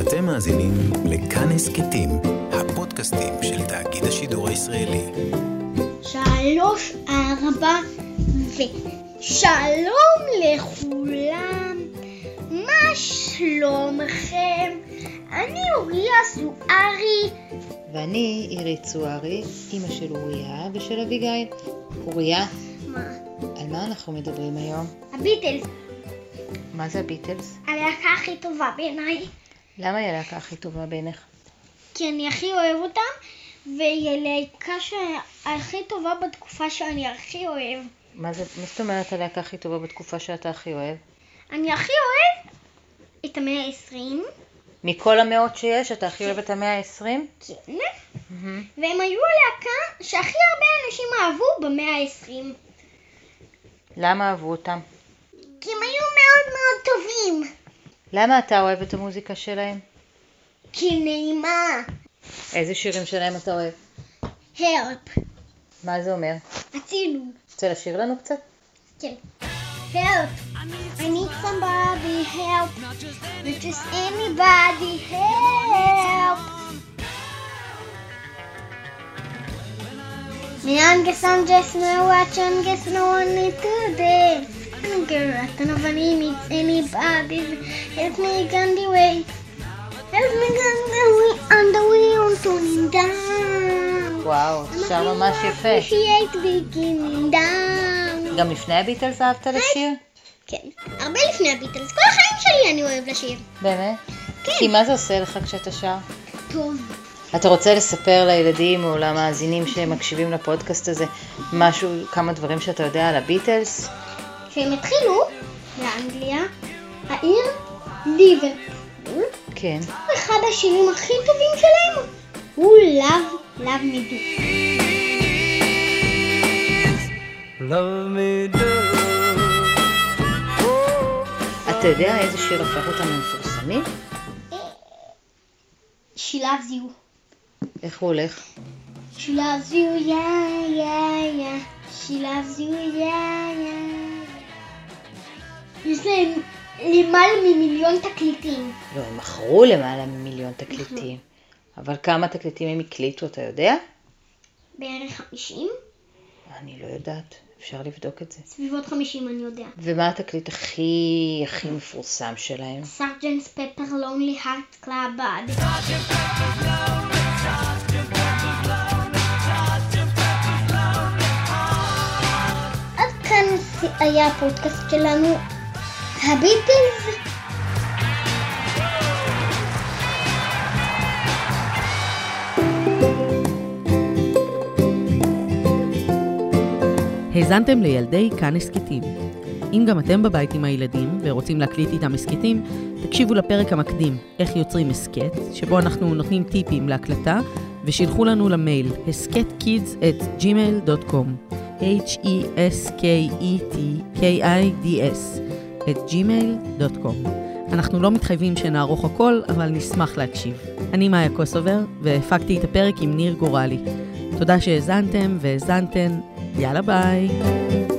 אתם מאזינים לכאן הסכתים, הפודקאסטים של תאגיד השידור הישראלי. שלוש, ארבע ושלום לכולם, מה שלומכם? אני אוריה זוארי, ואני אירית צוארי, אימא של אוריה ושל אביגיל. אוריה, מה? על מה אנחנו מדברים היום? הביטלס, מה זה הביטלס? הלהקה הכי טובה בעיניי, למה היא הלהקה הכי טובה בעיניך? כי אני הכי אוהב אותם, והיא הלהקה שהכי טובה בתקופה שאני הכי אוהב. מה זה, מה זאת אומרת הלהקה הכי טובה בתקופה שאתה הכי אוהב? אני הכי אוהב את המאה העשרים, מכל המאות שיש, אתה הכי אוהב את המאה ה-20? כן, והם היו הלהקה שהכי הרבה אנשים אהבו במאה העשרים. למה אהבו אותם? כי הם היו מאוד מאוד טובים. למה אתה אוהב את המוזיקה שלהם? כי נעימה. איזה שירים שלהם אתה אוהב? הרפ. מה זה אומר? הצילו. רוצה לשיר לנו קצת? כן. Help! I need somebody help. Not just anybody help. Me Angeson just know what John gets no one need today. I don't care, I don't know if I need anybody. Help me on the way. Help me on the way, on the way, on turning down. וואו, שר ממש יפה. Appreciate beginning down. גם לפני הביטלס אהבת לשיר? כן. הרבה לפני הביטלס. כל החיים שלי אני אוהב לשיר. באמת? כן. כי מה זה עושה לך כשאתה שר? טוב. אתה רוצה לספר לילדים או למאזינים שמקשיבים לפודקאסט הזה משהו, כמה דברים שאתה יודע על הביטלס? כשהם התחילו, באנגליה, העיר ליברפול, כן. אחד השירים הכי טובים שלהם הוא לאו, לאו מדו. Love me do. אתה יודע איזה שיר הפך אותם למפורסמים? שילב זיהו. איך הוא הולך? שילב זיהו יא יא יא. שילב זיהו יא יא. יש להם למעלה ממיליון תקליטים. לא, הם מכרו למעלה ממיליון תקליטים. אבל כמה תקליטים הם הקליטו, אתה יודע? בערך 50? אני לא יודעת, אפשר לבדוק את זה. סביבות 50 אני יודע. ומה התקליט הכי הכי מפורסם שלהם? סארג'נס פפר לונלי הארט קלאב בד. עד כאן היה הפודקאסט שלנו, הביטלס. האזנתם לילדי כאן הסכתים. אם גם אתם בבית עם הילדים ורוצים להקליט איתם הסכתים, תקשיבו לפרק המקדים, איך יוצרים הסכת, שבו אנחנו נותנים טיפים להקלטה, ושילחו לנו למייל הסכתkids@gmail.com E h-e-s-k-e-t-k-i-d-s at gmail.com אנחנו לא מתחייבים שנערוך הכל, אבל נשמח להקשיב. אני מאיה קוסובר, והפקתי את הפרק עם ניר גורלי. תודה שהאזנתם והאזנתן, יאללה ביי.